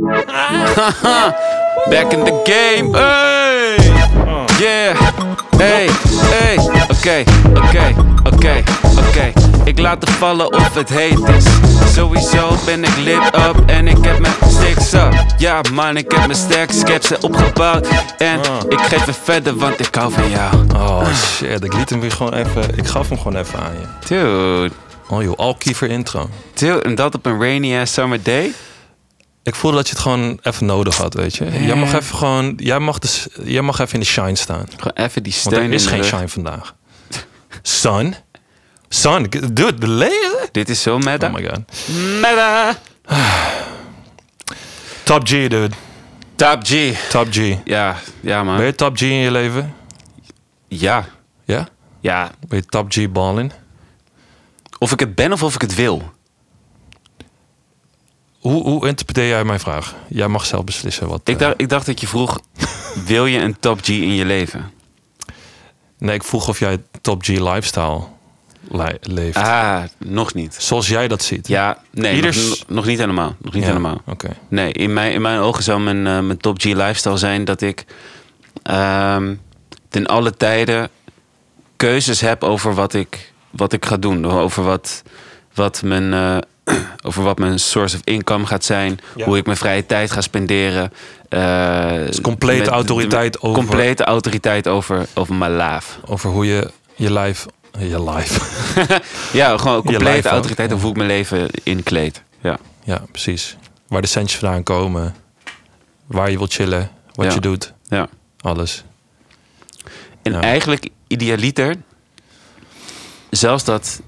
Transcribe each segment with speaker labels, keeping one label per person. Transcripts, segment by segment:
Speaker 1: Haha, Back in the game, hey! Yeah, hey, hey. Oké, oké, oké, oké. Ik laat het vallen of het heet is. Sowieso ben ik lit up en ik heb mijn sticks up. Ja man, ik heb mijn stacks, ik heb ze opgebouwd. En ik geef het verder, want ik hou van jou.
Speaker 2: Oh shit, ik liet hem weer gewoon even. Ik gaf hem gewoon even aan je.
Speaker 1: Dude,
Speaker 2: Oh joh, al kiever intro.
Speaker 1: dude, en dat op een rainy ass summer day?
Speaker 2: Ik voelde dat je het gewoon even nodig had, weet je. Jij mag even gewoon. Jij mag, de, s- jij mag even in de shine staan.
Speaker 1: Gewoon even die steun
Speaker 2: Want er is
Speaker 1: in dus. de rug.
Speaker 2: geen shine vandaag. Sun? Sun, dude, de le-
Speaker 1: Dit is zo meta.
Speaker 2: Oh my god.
Speaker 1: meta.
Speaker 2: Top G, dude.
Speaker 1: Top G.
Speaker 2: Top G.
Speaker 1: Ja, ja man.
Speaker 2: Ben je top G in je leven?
Speaker 1: Ja,
Speaker 2: Ja?
Speaker 1: ja.
Speaker 2: Ben je top G ballen?
Speaker 1: Of ik het ben of of ik het wil.
Speaker 2: Hoe, hoe interpreteer jij mijn vraag? Jij mag zelf beslissen wat.
Speaker 1: Ik
Speaker 2: eh,
Speaker 1: dacht, ik dacht dat je vroeg, wil je een top G in je leven?
Speaker 2: Nee, ik vroeg of jij top G lifestyle li- leeft.
Speaker 1: Ah, nog niet.
Speaker 2: Zoals jij dat ziet.
Speaker 1: Ja, nee,
Speaker 2: Ieders-
Speaker 1: nog, nog niet helemaal. Nog niet
Speaker 2: Ja,
Speaker 1: helemaal.
Speaker 2: Oké.
Speaker 1: Nee, in mijn, in mijn ogen zou mijn, eh, mijn top G lifestyle zijn dat ik ehm, ten alle tijden keuzes heb over wat ik, wat ik ga doen. Over wat, wat mijn, eh, over wat mijn source of income gaat zijn.
Speaker 2: Ja.
Speaker 1: Hoe ik mijn vrije tijd ga spenderen. eh,
Speaker 2: is complete
Speaker 1: met-
Speaker 2: autoriteit over-
Speaker 1: Complete autoriteit over, over mijn laaf.
Speaker 2: Over hoe je je lijf. Je lijf.
Speaker 1: Ja, gewoon
Speaker 2: lijf
Speaker 1: complete
Speaker 2: ook,
Speaker 1: autoriteit
Speaker 2: ja.
Speaker 1: over hoe ik mijn leven inkleed. Ja.
Speaker 2: ja, precies. Waar de centjes vandaan komen. Waar je wilt chillen. Wat
Speaker 1: Ja.
Speaker 2: je doet.
Speaker 1: ja.
Speaker 2: Alles.
Speaker 1: En
Speaker 2: Ja.
Speaker 1: eigenlijk idealiter, zelfs dat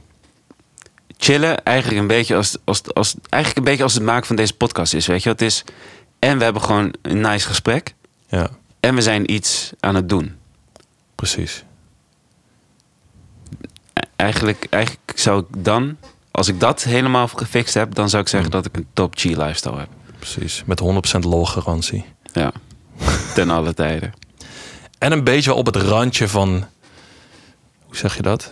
Speaker 1: chillen eigenlijk een beetje als, als, als, eigenlijk een beetje als het maken van deze podcast is. Weet je, wel. het is en we hebben gewoon een nice gesprek
Speaker 2: Ja,
Speaker 1: en we zijn iets aan het doen.
Speaker 2: precies.
Speaker 1: E- Eigenlijk, eigenlijk zou ik dan, als ik dat helemaal gefixt heb, dan zou ik zeggen dat ik een top G lifestyle heb.
Speaker 2: Precies. Met 100% lol-garantie.
Speaker 1: Ja, ten alle tijden.
Speaker 2: En een beetje wel op het randje van. Hoe zeg je dat?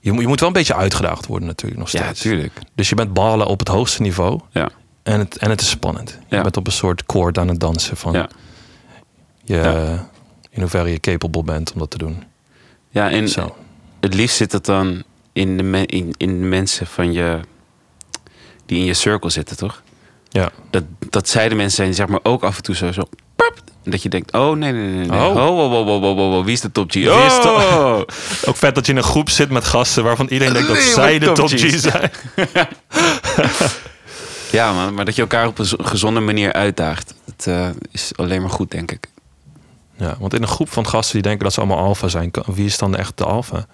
Speaker 2: Je, moet- je moet wel een beetje uitgedaagd worden, natuurlijk, nog
Speaker 1: Ja,
Speaker 2: steeds.
Speaker 1: tuurlijk.
Speaker 2: dus je bent ballen op het hoogste niveau.
Speaker 1: Ja,
Speaker 2: En het, en het is spannend. Je
Speaker 1: Ja.
Speaker 2: bent op een soort koord aan het dansen van
Speaker 1: ja.
Speaker 2: je,
Speaker 1: Ja.
Speaker 2: in hoeverre je capable bent om dat te doen.
Speaker 1: ja en
Speaker 2: Zo.
Speaker 1: het liefst zit het dan in de, me- in, in de mensen van je, die in je circle zitten, toch?
Speaker 2: Ja.
Speaker 1: dat, dat zij de mensen zijn die zeg maar ook af en toe zo... zo pap, en dat je denkt, oh nee, nee, nee, nee.
Speaker 2: Oh.
Speaker 1: Oh, wow, wow, wow, wow, wow, wow, wie is de top G? Oh. Wie
Speaker 2: is de- Ook vet dat je in een groep zit met gasten waarvan iedereen denkt dat
Speaker 1: Nee,
Speaker 2: zij
Speaker 1: wat
Speaker 2: de top
Speaker 1: top
Speaker 2: G
Speaker 1: G's.
Speaker 2: zijn.
Speaker 1: Ja man, maar dat je elkaar op een zo- gezonde manier uitdaagt. Dat eh, is alleen maar goed, denk ik.
Speaker 2: Ja, want in een groep van gasten die denken dat ze allemaal alfa zijn, kan- wie is dan echt de alfa?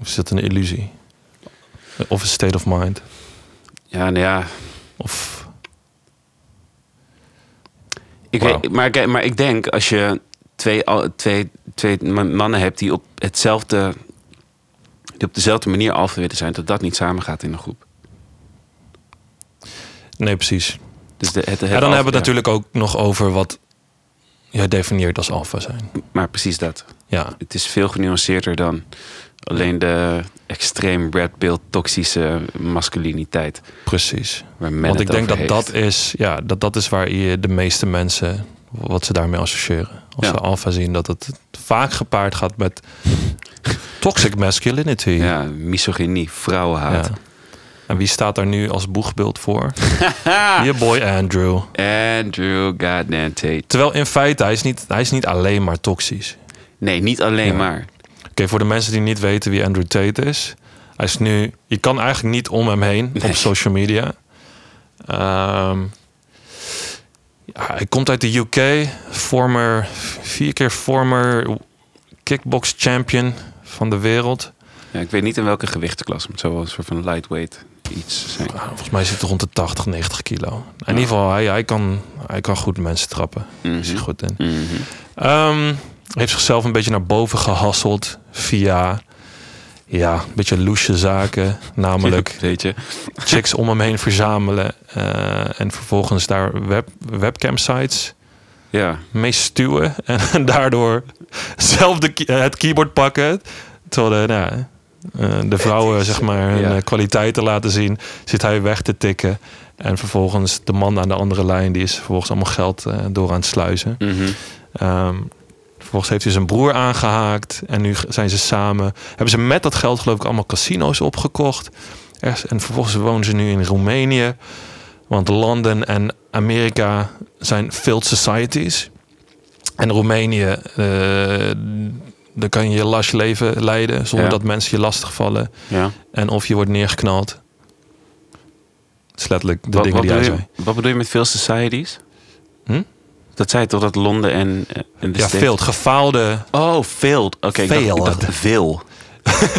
Speaker 2: Of is dat een illusie? Of een state of mind?
Speaker 1: Ja, nou ja.
Speaker 2: Of
Speaker 1: Ik
Speaker 2: Wauw.
Speaker 1: weet, maar, ik- maar ik denk, als je twee, al- twee, twee mannen hebt die op hetzelfde... die op dezelfde manier alfa willen zijn... dat dat niet samengaat in een groep.
Speaker 2: nee, precies.
Speaker 1: Dus de, het, het
Speaker 2: En dan
Speaker 1: alpha-
Speaker 2: hebben we het
Speaker 1: ja,
Speaker 2: natuurlijk ook nog over wat jij definieert als alfa zijn.
Speaker 1: Maar precies dat.
Speaker 2: Ja,
Speaker 1: Het is veel genuanceerder dan alleen de extreem red pill toxische masculiniteit.
Speaker 2: precies.
Speaker 1: Waar men
Speaker 2: Want
Speaker 1: het
Speaker 2: ik denk dat
Speaker 1: over heeft.
Speaker 2: dat is, ja, dat dat is waar je de meeste mensen wat ze daarmee associëren. Als
Speaker 1: Ja.
Speaker 2: ze alfa zien, dat het vaak gepaard gaat met toxic masculinity.
Speaker 1: Ja, misogynie, vrouwenhaat.
Speaker 2: Ja. En wie staat daar nu als boegbeeld voor? je boy Andrew.
Speaker 1: Andrew goddamn Tate.
Speaker 2: Terwijl in feite, hij is niet, hij is niet alleen maar toxisch.
Speaker 1: Nee, niet alleen
Speaker 2: Ja.
Speaker 1: maar.
Speaker 2: Oké, voor de mensen die niet weten wie Andrew Tate is. Hij is nu... Je kan eigenlijk niet om hem heen op
Speaker 1: Nee.
Speaker 2: social media. Ehm, ja, hij komt uit de UK. Former... Vier keer former kickbox champion van de wereld.
Speaker 1: Ja, ik weet niet in welke gewichtsklasse, maar het zou wel een soort van lightweight iets zijn.
Speaker 2: Nou, volgens mij zit het rond de 80, 90 kilo. In ieder geval, hij, hij, kan, hij kan goed mensen trappen. Daar Is hij
Speaker 1: Mhm.
Speaker 2: goed in.
Speaker 1: Mhm.
Speaker 2: Ehm, heeft zichzelf een beetje naar boven gehasseld via... Ja, een beetje loesje zaken. Namelijk
Speaker 1: Weet je?
Speaker 2: chicks om hem heen verzamelen. eh, en vervolgens daar web, webcam sites
Speaker 1: Ja.
Speaker 2: mee stuwen. En, daardoor zelf de, key- het keyboard pakken. Terwijl de, nou, eh, de vrouwen zeg maar hun
Speaker 1: Ja.
Speaker 2: eh, kwaliteiten laten zien. Zit hij weg te tikken. En vervolgens de man aan de andere lijn, die is vervolgens allemaal geld eh, door aan het sluizen.
Speaker 1: Mhm.
Speaker 2: Ehm, vervolgens heeft hij zijn broer aangehaakt. En nu g- zijn ze samen. Hebben ze met dat geld geloof ik allemaal casino's opgekocht. Er is- En vervolgens wonen ze nu in Roemenië. Want Londen en Amerika zijn failed societies. En Roemenië, eh, daar kan je je las leven leiden zonder
Speaker 1: Ja.
Speaker 2: dat mensen je lastigvallen.
Speaker 1: Ja.
Speaker 2: En of je wordt neergeknald. Dat is letterlijk de
Speaker 1: Wat,
Speaker 2: dingen
Speaker 1: wat
Speaker 2: die hij
Speaker 1: bedoel
Speaker 2: zei.
Speaker 1: je, wat bedoel je met veel societies?
Speaker 2: Hm?
Speaker 1: Dat zei je toch dat Londen en, eh, en de
Speaker 2: Ja,
Speaker 1: States-
Speaker 2: failed, gefaalde
Speaker 1: Oh, failed. Oké, ik dacht- ik dacht
Speaker 2: Failed.
Speaker 1: veel.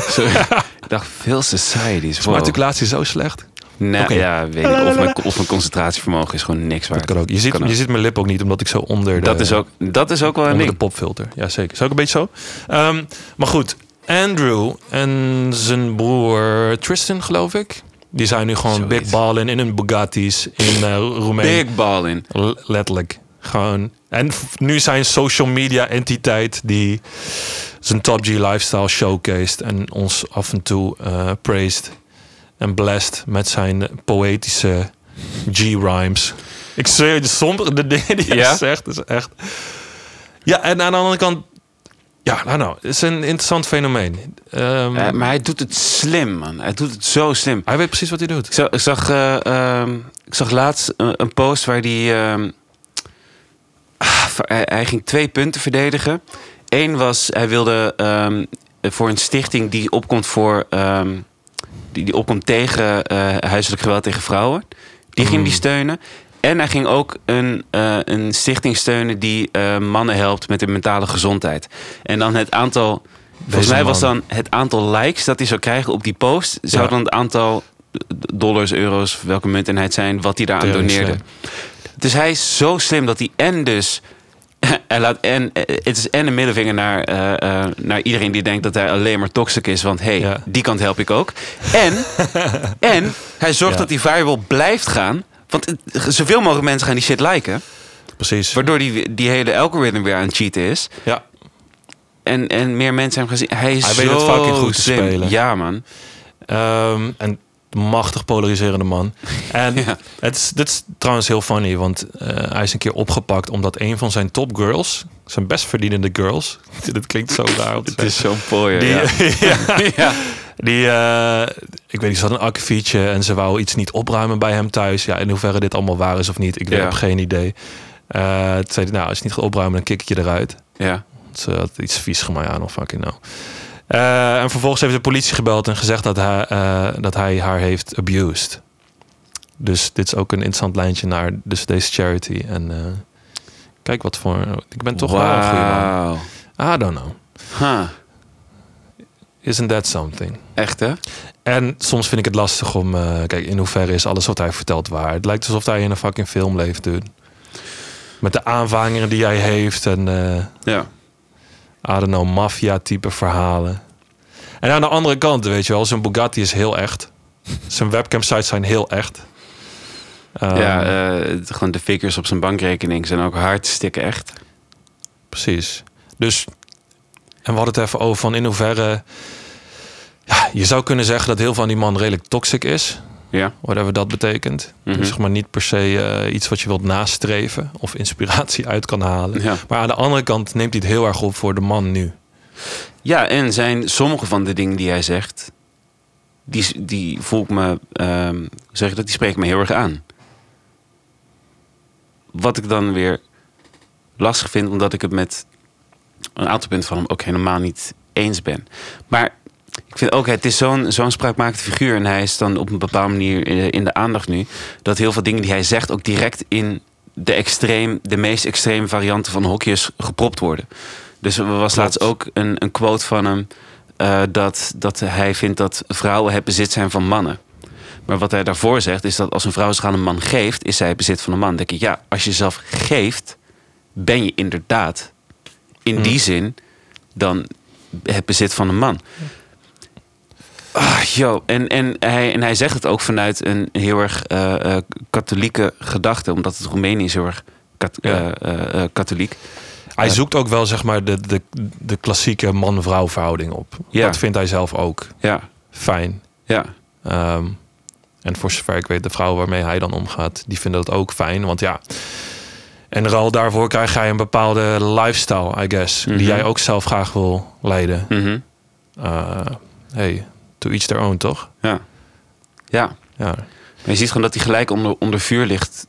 Speaker 1: Sorry. ik dacht veel societies.
Speaker 2: Is
Speaker 1: Wow.
Speaker 2: mijn articulatie zo slecht?
Speaker 1: Nee,
Speaker 2: Oké.
Speaker 1: ja, weet ik. Of mijn, of mijn concentratievermogen is gewoon niks
Speaker 2: Dat
Speaker 1: waard.
Speaker 2: kan ook. Je ziet,
Speaker 1: Kan ook.
Speaker 2: je ziet mijn lip ook niet, omdat ik zo onder de,
Speaker 1: Dat is ook, dat is ook wel een
Speaker 2: onder de
Speaker 1: ding.
Speaker 2: popfilter. Ja, zeker. Is ook een beetje zo. Ehm, maar goed, Andrew en zijn broer Tristan, geloof ik. Die zijn nu gewoon
Speaker 1: Zoiets.
Speaker 2: big ballen in hun Bugatti's in eh, Ro- Roemenië.
Speaker 1: Big ball in.
Speaker 2: L- Letterlijk. Gewoon. En f- nu zijn social media entiteit die zijn Top G lifestyle showcased en ons af en toe eh praised en blessed met zijn poëtische G-rhymes. Ik zweer je, sommige de dingen die hij
Speaker 1: Ja?
Speaker 2: zegt is echt... Ja, en aan de andere kant... Ja, nou nou, het is een interessant fenomeen. Ehm,
Speaker 1: Eh, maar hij doet het slim, man. Hij doet het zo slim.
Speaker 2: hij weet precies wat hij doet.
Speaker 1: Ik zag, ik zag, eh, ehm, ik zag laatst een, een post waar die ehm, ah, hij, hij ging twee punten verdedigen. Eén was, hij wilde ehm, voor een stichting die opkomt voor... ehm, die, die opkomt tegen eh, huiselijk geweld tegen vrouwen. Die ging die
Speaker 2: Mm.
Speaker 1: steunen. En hij ging ook een, eh, een stichting steunen die eh, mannen helpt met hun mentale gezondheid. En dan het aantal... Volgens mij
Speaker 2: man.
Speaker 1: was dan het aantal likes dat hij zou krijgen op die post... zou
Speaker 2: Ja.
Speaker 1: dan het aantal dollars, euro's, welke munt en het zijn, wat hij daaraan
Speaker 2: Tering
Speaker 1: doneerde. Dus hij is zo slim dat hij en dus. Hij laat en, eh, het is en een middelvinger naar, eh, eh, naar iedereen die denkt dat hij alleen maar toxic is. Want hey,
Speaker 2: Ja.
Speaker 1: die kant help ik ook. En, en hij zorgt
Speaker 2: Ja.
Speaker 1: dat die viral blijft gaan. Want het- zoveel mogelijk mensen gaan die shit liken.
Speaker 2: Precies.
Speaker 1: Waardoor die, die hele algoritme weer aan het cheaten is.
Speaker 2: Ja.
Speaker 1: En, en meer mensen hem gezien. Hij is
Speaker 2: Hij
Speaker 1: zo
Speaker 2: weet het fucking goed te
Speaker 1: slim.
Speaker 2: spelen.
Speaker 1: Ja, man.
Speaker 2: Ehm, en machtig polariserende man. En
Speaker 1: Ja.
Speaker 2: het is, dit is trouwens heel funny, want eh, hij is een keer opgepakt omdat een van zijn topgirls, zijn best verdienende girls, dit klinkt zo raar. om te
Speaker 1: Het is zo'n pooier.
Speaker 2: Die-
Speaker 1: ja. Ja.
Speaker 2: die, eh, ik weet niet, ze had een akkefietje en ze wou iets niet opruimen bij hem thuis. Ja, in hoeverre dit allemaal waar is of niet, ik
Speaker 1: Ja.
Speaker 2: heb geen idee. Eh toen zei hij, nou, als je niet gaat opruimen, dan kik ik je eruit.
Speaker 1: ja.
Speaker 2: Ze had iets vies gemaakt aan of fucking nou. Eh, en vervolgens heeft de politie gebeld en gezegd dat hij, eh, dat hij haar heeft abused. Dus dit is ook een interessant lijntje naar dus deze charity. En eh, kijk wat voor... Ik ben toch wel een goede man.
Speaker 1: Wauw.
Speaker 2: I don't know.
Speaker 1: Huh.
Speaker 2: Isn't that something?
Speaker 1: Echt, hè?
Speaker 2: En soms vind ik het lastig om... eh, kijk, in hoeverre is alles wat hij vertelt waar? Het lijkt alsof hij in een fucking film leeft, dude. Met de aanvangeren die hij heeft en... eh,
Speaker 1: Ja.
Speaker 2: I don't know, maffia-type verhalen. En aan de andere kant, weet je wel, zijn Bugatti is heel echt. Zijn webcam-sites zijn heel echt. Ehm,
Speaker 1: ja, eh, het- gewoon de figures op zijn bankrekening zijn ook hartstikke echt.
Speaker 2: Precies. Dus, en we hadden het even over van in hoeverre... Ja, je zou kunnen zeggen dat heel van die man redelijk toxic is.
Speaker 1: Ja.
Speaker 2: Whatever dat betekent.
Speaker 1: Mhm.
Speaker 2: Dus zeg maar niet per se eh, iets wat je wilt nastreven of inspiratie uit kan halen.
Speaker 1: Ja.
Speaker 2: Maar aan de andere kant neemt hij het heel erg op voor de man nu.
Speaker 1: ja, en zijn sommige van de dingen die hij zegt, die, s- die voel ik me, ehm, hoe zeg ik dat, die spreekt me heel erg aan. Wat ik dan weer lastig vind, omdat ik het met een aantal punten van hem ook helemaal niet eens ben. Maar ik vind ook, het is zo'n zo'n spraakmakend figuur en hij is dan op een bepaalde manier eh, in de aandacht nu, dat heel veel dingen die hij zegt ook direct in de, extreem, de meest extreme varianten van hokjes gepropt worden. Dus er was laatst ook een, een quote van hem eh, dat, dat hij vindt dat vrouwen het bezit zijn van mannen. Maar wat hij daarvoor zegt is dat als een vrouw zich aan een man geeft, is zij het bezit van een man. Dan denk ik, ja, als je jezelf geeft, ben je inderdaad in die zin dan het bezit van een man. Ah, yo. En, en, hij, en hij zegt het ook vanuit een heel erg eh, eh, katholieke gedachte, omdat het Roemenië is heel erg kat-
Speaker 2: Ja.
Speaker 1: eh, eh, eh, katholiek.
Speaker 2: Hij Hij zoekt ook wel zeg maar de, de, de klassieke man-vrouw verhouding op.
Speaker 1: Ja.
Speaker 2: Dat vindt hij zelf ook
Speaker 1: Ja,
Speaker 2: fijn.
Speaker 1: ja.
Speaker 2: Ehm, en voor zover ik weet, de vrouwen waarmee hij dan omgaat, die vinden dat ook fijn. Want ja, en er al daarvoor krijg jij een bepaalde lifestyle, I guess.
Speaker 1: Mhm.
Speaker 2: Die jij ook zelf graag wil leiden.
Speaker 1: Mhm.
Speaker 2: Eh, hey, to each their own, toch?
Speaker 1: Ja. Ja.
Speaker 2: Ja,
Speaker 1: Maar je ziet gewoon dat hij gelijk onder, onder vuur ligt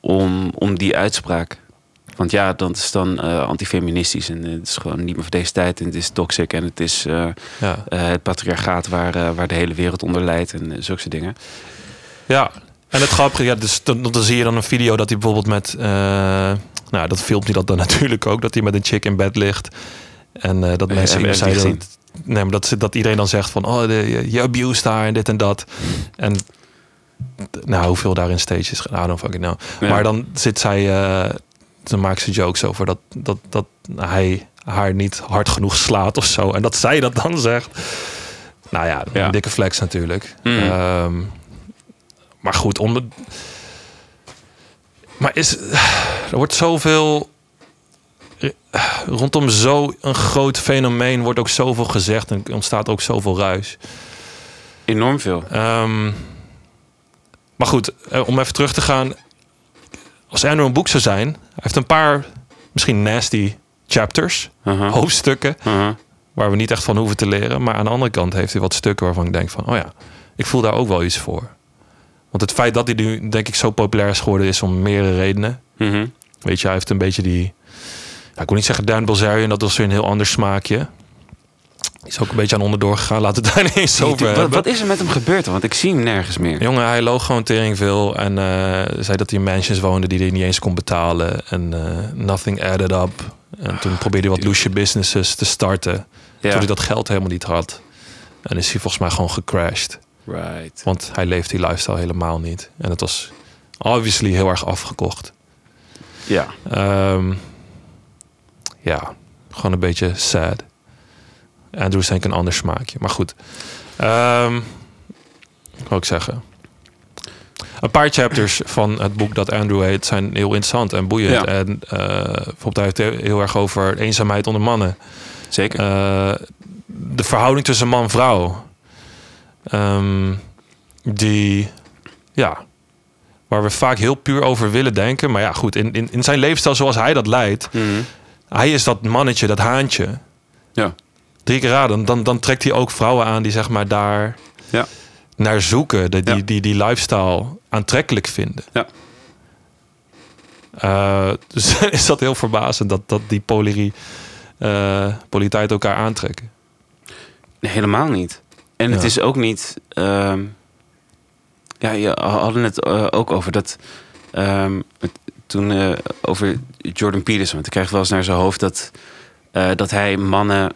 Speaker 1: om, om die uitspraak. Want ja, dat is dan eh, antifeministisch en eh, het is gewoon niet meer voor deze tijd en het is toxic en het is eh, eh,
Speaker 2: ja.
Speaker 1: het patriarchaat waar, eh, waar de hele wereld onder lijdt en eh, zulke soort dingen.
Speaker 2: ja. En het grappige, ja, dus, dan, dan zie je dan een video dat hij bijvoorbeeld met... eh, nou, dat filmt hij dat dan natuurlijk ook. Dat hij met een chick in bed ligt. En eh, dat
Speaker 1: Eh,
Speaker 2: mensen
Speaker 1: heb-
Speaker 2: iemand
Speaker 1: heb je
Speaker 2: zeiden...
Speaker 1: gezien?
Speaker 2: dat- Nee, maar dat, ze- dat iedereen dan zegt van... Oh, de, je, je abused haar en dit en dat. En nou, hoeveel daar in stage is gedaan, dan fucking nou.
Speaker 1: Ja.
Speaker 2: Maar dan zit zij... eh, dan maakt ze jokes over dat, dat, dat hij haar niet hard genoeg slaat of zo. En dat zij dat dan zegt. Nou ja, een
Speaker 1: Ja.
Speaker 2: dikke flex natuurlijk.
Speaker 1: Mm.
Speaker 2: Ehm, maar goed, om de... Maar is, er wordt zoveel... Rondom zo'n groot fenomeen wordt ook zoveel gezegd... en ontstaat ook zoveel ruis.
Speaker 1: Enorm veel.
Speaker 2: Ehm, maar goed, eh, om even terug te gaan. Als Andrew een boek zou zijn, hij heeft een paar misschien nasty chapters,
Speaker 1: Uh-huh.
Speaker 2: hoofdstukken,
Speaker 1: Uh-huh.
Speaker 2: waar we niet echt van hoeven te leren. Maar aan de andere kant heeft hij wat stukken waarvan ik denk van, oh ja, ik voel daar ook wel iets voor. Want het feit dat hij nu, denk ik, zo populair is geworden, is om meerdere redenen.
Speaker 1: Mhm.
Speaker 2: Weet je, hij heeft een beetje die, ja, ik wil niet zeggen Dan Bilzerian, dat was weer een heel ander smaakje. Is ook een beetje aan onderdoor gegaan. Laten we het daar niet eens over
Speaker 1: Wat,
Speaker 2: hebben.
Speaker 1: wat is er met hem gebeurd? dan? Want ik zie hem nergens meer.
Speaker 2: Jongen, hij loog gewoon tering veel en eh, zei dat hij in mansions woonde die hij niet eens kon betalen. En eh, nothing added up. En toen probeerde hij wat loesje businesses te starten. Toen hij dat geld helemaal niet had. En is hij volgens mij gewoon gecrashed.
Speaker 1: Right.
Speaker 2: Want hij leeft die lifestyle helemaal niet. En het was obviously heel erg afgekocht.
Speaker 1: Ja.
Speaker 2: Ehm, ja, gewoon een beetje sad. Andrew is denk ik een ander smaakje. Maar goed. Ehm wat wil ik zeggen? Een paar chapters van het boek dat Andrew heet zijn heel interessant en boeiend.
Speaker 1: Ja.
Speaker 2: En eh, bijvoorbeeld hij heeft heel- heel erg over eenzaamheid onder mannen.
Speaker 1: Zeker.
Speaker 2: Eh, de verhouding tussen man en vrouw. Ehm, die, ja, waar we vaak heel puur over willen denken. Maar ja, goed, in, in, in zijn leefstijl zoals hij dat leidt.
Speaker 1: Mhm.
Speaker 2: Hij is dat mannetje, dat haantje.
Speaker 1: Ja.
Speaker 2: Drie keer raden, dan, dan trekt hij ook vrouwen aan die zeg maar daar
Speaker 1: Ja.
Speaker 2: naar zoeken. Die, die,
Speaker 1: Ja.
Speaker 2: die, die lifestyle aantrekkelijk vinden.
Speaker 1: Ja.
Speaker 2: Eh, dus is dat heel verbazend dat, dat die polerie, eh, polariteit elkaar aantrekken.
Speaker 1: Nee, helemaal niet. En het
Speaker 2: Ja.
Speaker 1: is ook niet. ehm, ja, je hadden het eh, ook over dat. ehm, het- toen eh, over Jordan Peterson. Want ik krijg wel eens naar zijn hoofd dat. eh, dat hij mannen.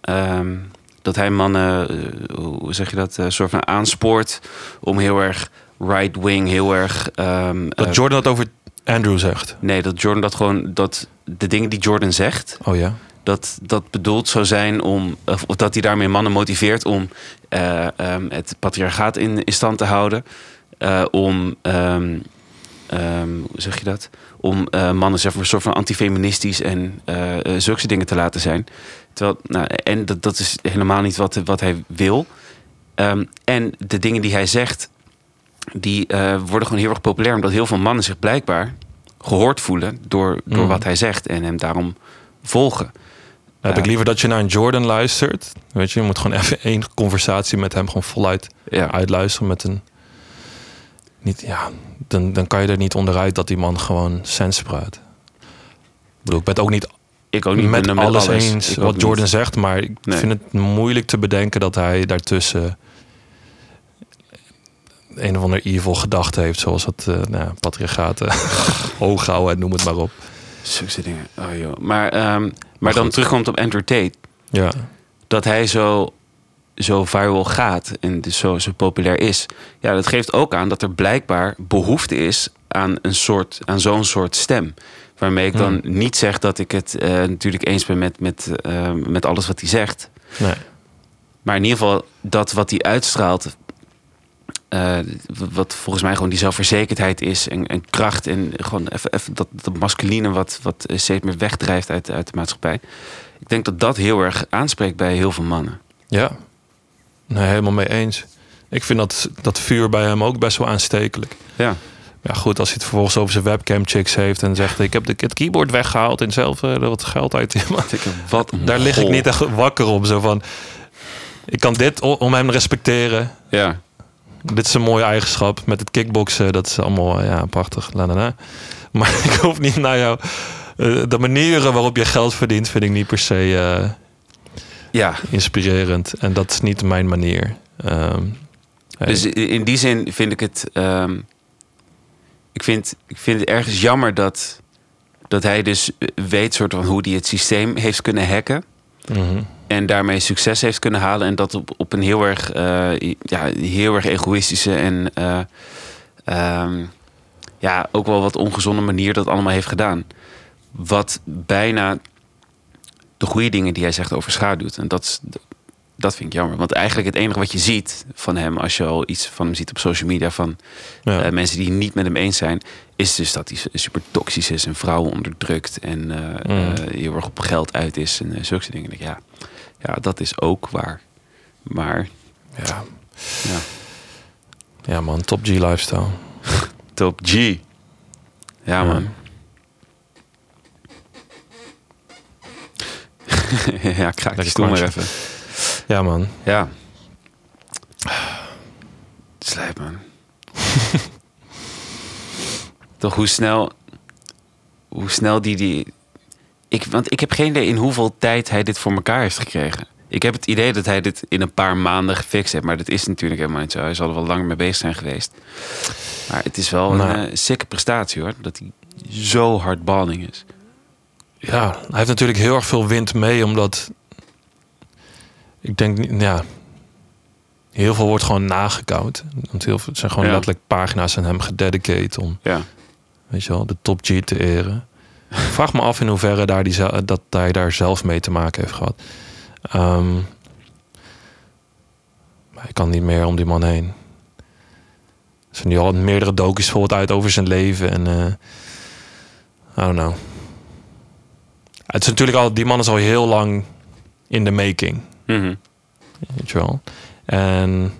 Speaker 1: ehm, dat hij mannen. eh, hoe zeg je dat? eh, soort van aanspoort. om heel erg right-wing, heel erg. ehm,
Speaker 2: Dat
Speaker 1: eh,
Speaker 2: Jordan dat over Andrew zegt.
Speaker 1: nee, dat Jordan dat gewoon. dat de dingen die Jordan zegt
Speaker 2: Oh ja.
Speaker 1: dat dat bedoeld zou zijn om. of of dat hij daarmee mannen motiveert om eh, ehm, het patriarchaat in, in stand te houden. Eh, om. ehm, ehm, hoe zeg je dat? Om eh, mannen zeg maar, een soort van antifeministisch en eh eh, zulke soort dingen te laten zijn. Terwijl, nou, en dat, dat is helemaal niet wat, wat hij wil. Ehm, en de dingen die hij zegt, die eh, worden gewoon heel erg populair. Omdat heel veel mannen zich blijkbaar gehoord voelen door, door
Speaker 2: Mhm.
Speaker 1: wat hij zegt. En hem daarom volgen.
Speaker 2: Dan heb
Speaker 1: Ja.
Speaker 2: ik liever dat je naar een Jordan luistert. Weet je, je moet gewoon even één conversatie met hem gewoon voluit
Speaker 1: Ja.
Speaker 2: uitluisteren met een. Niet, ja, dan, dan kan je er niet onderuit dat die man gewoon sens praat. Ik bedoel, ik ben het ook niet
Speaker 1: Ik ook niet.
Speaker 2: met,
Speaker 1: Ik ben er
Speaker 2: alles, eens
Speaker 1: Ik
Speaker 2: wat
Speaker 1: ook niet.
Speaker 2: Jordan zegt, maar ik
Speaker 1: Nee.
Speaker 2: vind het moeilijk te bedenken dat hij daartussen een of ander evil gedachte heeft, zoals dat eh nou, ja, patriarchaten hoog houden en noem het maar op.
Speaker 1: Zulke soort dingen. Oh joh. Maar, ehm, maar, dan
Speaker 2: goed.
Speaker 1: terugkomt op Andrew Tate.
Speaker 2: Ja,
Speaker 1: Dat hij zo, zo viral gaat en dus zo, zo populair is. Ja, dat geeft ook aan dat er blijkbaar behoefte is aan, een soort, aan zo'n soort stem. Waarmee ik dan
Speaker 2: Hmm.
Speaker 1: niet zeg dat ik het eh, natuurlijk eens ben met, met, eh, met alles wat hij zegt.
Speaker 2: nee.
Speaker 1: Maar in ieder geval dat wat hij uitstraalt. eh, w- wat volgens mij gewoon die zelfverzekerdheid is en, en kracht en gewoon even, even dat, dat masculine wat, wat eh, steeds meer wegdrijft uit, uit de maatschappij. Ik denk dat dat heel erg aanspreekt bij heel veel mannen.
Speaker 2: Ja, nee, helemaal mee eens. Ik vind dat, dat vuur bij hem ook best wel aanstekelijk.
Speaker 1: Ja.
Speaker 2: Ja, goed, als hij het vervolgens over zijn webcam chicks heeft en zegt: Ik heb de, het keyboard weggehaald en zelf eh, er wat geld uit. Maar
Speaker 1: Wat een
Speaker 2: Daar lig ik
Speaker 1: gol.
Speaker 2: niet echt wakker om. Zo van: Ik kan dit o- om hem te respecteren.
Speaker 1: Ja.
Speaker 2: Dit is een mooie eigenschap. Met het kickboksen, dat is allemaal eh, ja, prachtig. La, la, la. Maar ik hoef niet naar jou. eh, de manieren waarop je geld verdient, vind ik niet per se eh,
Speaker 1: ja.
Speaker 2: inspirerend. En dat is niet mijn manier. Ehm, hey.
Speaker 1: Dus i- in die zin vind ik het. ehm, ik, vind, ik vind het ergens jammer dat, dat hij dus eh, weet soort van hoe hij het systeem heeft kunnen hacken.
Speaker 2: Mhm.
Speaker 1: En daarmee succes heeft kunnen halen. En dat op, op een heel erg, eh, ja, heel erg egoïstische en eh, ehm, ja, ook wel wat ongezonde manier dat allemaal heeft gedaan. Wat bijna de goede dingen die hij zegt overschaduwt. En dat, is- dat vind ik jammer. Want eigenlijk het enige wat je ziet van hem, als je al iets van hem ziet op social media, van
Speaker 2: Ja.
Speaker 1: eh, mensen die niet met hem eens zijn, is dus dat hij su- super toxisch is en vrouwen onderdrukt en eh,
Speaker 2: Mm.
Speaker 1: eh, heel erg op geld uit is en eh, zulke soort dingen. Ik denk, Ja, ja, dat is ook waar. Maar
Speaker 2: Ja.
Speaker 1: Ja.
Speaker 2: ja. man, top G lifestyle.
Speaker 1: top G. Ja, man. ja, kraak die
Speaker 2: Lekker
Speaker 1: stoel maar
Speaker 2: kraantje.
Speaker 1: even.
Speaker 2: Ja, man.
Speaker 1: Ja. Slijp, man. Toch hoe snel... Hoe snel die... die ik, want ik heb geen idee in hoeveel tijd hij dit voor elkaar heeft gekregen. Ik heb het idee dat hij dit in een paar maanden gefixt heeft. Maar dat is natuurlijk helemaal niet zo. Hij zal er wel langer mee bezig zijn geweest. Maar het is wel een
Speaker 2: Nou.
Speaker 1: eh, sikke prestatie hoor. Dat hij zo hard balling is.
Speaker 2: Ja, hij heeft natuurlijk heel erg veel wind mee, omdat ik denk, niet- ja, heel veel wordt gewoon nagekauwd. Want heel veel het zijn gewoon
Speaker 1: Ja.
Speaker 2: letterlijk pagina's aan hem gededicate om,
Speaker 1: Ja.
Speaker 2: weet je wel, de top G te eren. Ik Vraag me af in hoeverre daar die, ze- dat hij daar zelf mee te maken heeft gehad. Ehm, maar ik kan niet meer om die man heen. Er zijn nu al meerdere docu's bijvoorbeeld uit over zijn leven. En eh I don't know. Het is natuurlijk al, die man is al heel lang in de making.
Speaker 1: Mhm.
Speaker 2: Weet je wel. En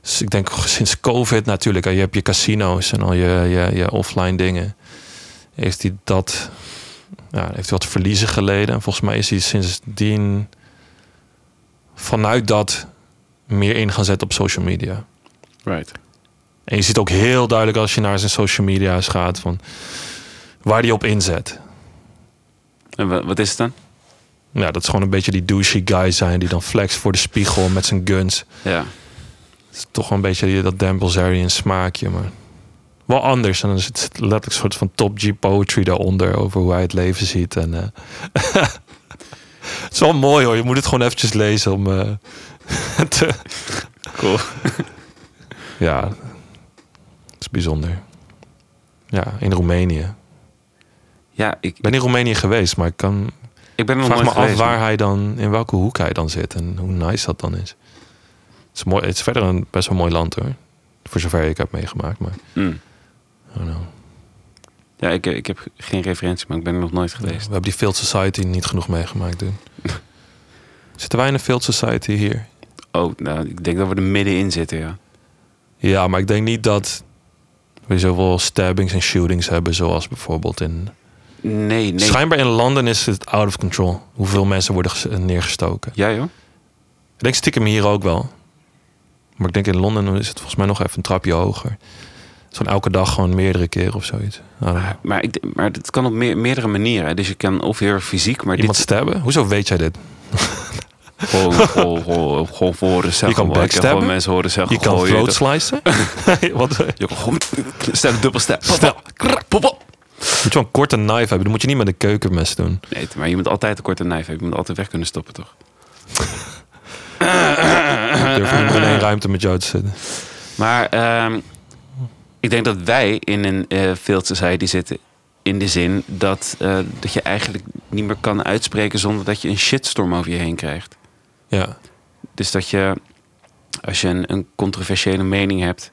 Speaker 2: dus ik denk sinds COVID natuurlijk, je hebt je casino's en al je, je, je offline dingen. Heeft hij dat, ja, heeft hij wat verliezen geleden. En volgens mij is hij sindsdien vanuit dat meer in gaan zetten op social media.
Speaker 1: Right.
Speaker 2: En je ziet ook heel duidelijk als je naar zijn social media's gaat van waar hij op inzet.
Speaker 1: En wa- wat is het dan?
Speaker 2: Nou, dat is gewoon een beetje die douchey guy zijn die dan flex voor de spiegel met zijn guns.
Speaker 1: Ja.
Speaker 2: Het is toch wel een beetje die- dat Dambelzarian smaakje, maar wel anders. En dan zit zit letterlijk een soort van top G poetry daaronder over hoe hij het leven ziet. En, eh, het is wel mooi hoor, je moet het gewoon eventjes lezen om eh, te...
Speaker 1: Cool.
Speaker 2: Ja, het is bijzonder. Ja, in Roemenië.
Speaker 1: Ja, ik,
Speaker 2: Ik ben in Roemenië geweest, maar ik kan,
Speaker 1: ik ben er nog
Speaker 2: vraag
Speaker 1: nooit
Speaker 2: me af
Speaker 1: geweest,
Speaker 2: waar hij dan, in welke hoek hij dan zit en hoe nice dat dan is. Het is, mooi, het is verder een best wel mooi land hoor. Voor zover ik heb meegemaakt. Maar,
Speaker 1: man. Mm.
Speaker 2: I don't know.
Speaker 1: Ja, ik, ik heb geen referentie, maar ik ben er nog nooit
Speaker 2: We
Speaker 1: geweest.
Speaker 2: hebben die Field Society niet genoeg meegemaakt doen. Zitten wij in een Field Society hier?
Speaker 1: Oh, nou, ik denk dat we er middenin zitten, ja.
Speaker 2: Ja, maar ik denk niet dat we zoveel stabbings en shootings hebben zoals bijvoorbeeld in...
Speaker 1: Nee, nee.
Speaker 2: Schijnbaar in Londen is het out of control. Hoeveel mensen worden ges- neergestoken.
Speaker 1: Ja, joh.
Speaker 2: Ik denk stiekem hier ook wel. Maar ik denk in Londen is het volgens mij nog even een trapje hoger. Zo'n elke dag gewoon meerdere keer of zoiets. Nou, dan-
Speaker 1: Maar, ik, d- maar het kan op meer- meerdere manieren. hè. Dus je kan of heel erg fysiek, maar
Speaker 2: iemand stabben? Hoezo weet jij dit?
Speaker 1: dit... Gewoon, gewoon, gewoon, gewoon voor horen zeggen.
Speaker 2: Je kan
Speaker 1: man. Ik heb gewoon
Speaker 2: backstabben.
Speaker 1: mensen horen zeggen.
Speaker 2: Je kan
Speaker 1: gooi,
Speaker 2: float slicen? Wat?
Speaker 1: Je kan gewoon... Stem, dubbel stem.
Speaker 2: Snel. Moet je wel een korte knife hebben. Dan moet je niet met een keukenmes doen.
Speaker 1: Nee, maar je moet altijd een korte knife hebben. Je moet altijd weg kunnen stoppen, toch?
Speaker 2: Ik durf niet meer in één ruimte met jou te zitten.
Speaker 1: Maar ehm, ik denk dat wij in een eh field society zitten. In de zin dat, eh, dat je eigenlijk niet meer kan uitspreken zonder dat je een shitstorm over je heen krijgt.
Speaker 2: Ja.
Speaker 1: Dus dat je als je een, een controversiële mening hebt.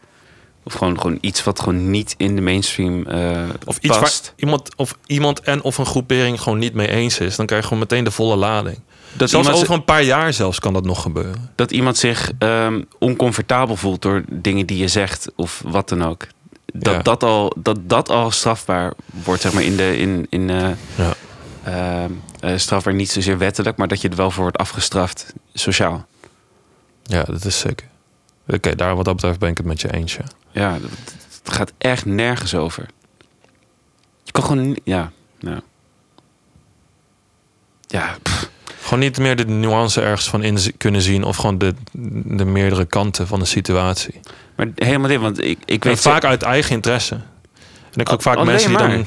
Speaker 1: Of gewoon, gewoon iets wat gewoon niet in de mainstream eh
Speaker 2: Of iets
Speaker 1: past.
Speaker 2: waar iemand, of iemand en of een groepering gewoon niet mee eens is. Dan krijg je gewoon meteen de volle lading.
Speaker 1: Dat
Speaker 2: Zelfs
Speaker 1: iemand,
Speaker 2: over een paar jaar zelfs kan dat nog gebeuren.
Speaker 1: dat iemand zich ehm, oncomfortabel voelt door dingen die je zegt of wat dan ook. Dat,
Speaker 2: Ja.
Speaker 1: dat, al, dat dat al strafbaar wordt, zeg maar, in de. In, in, eh,
Speaker 2: Ja.
Speaker 1: ehm, eh, strafbaar niet zozeer wettelijk, maar dat je er wel voor wordt afgestraft sociaal.
Speaker 2: Ja, dat is zeker. Oké, daar wat dat betreft ben ik het met je eens. ja.
Speaker 1: Ja, dat, dat- dat gaat echt nergens over. Je kan gewoon. ni- Ja, ja. Ja, pff,
Speaker 2: Gewoon niet meer de nuance ergens van in zi- kunnen zien. Of gewoon de, de meerdere kanten van de situatie.
Speaker 1: maar helemaal dit, want ik, ik
Speaker 2: Ik weet
Speaker 1: weet ze-
Speaker 2: vaak uit eigen interesse. En ik ook vaak
Speaker 1: alleen
Speaker 2: mensen die
Speaker 1: maar.
Speaker 2: dan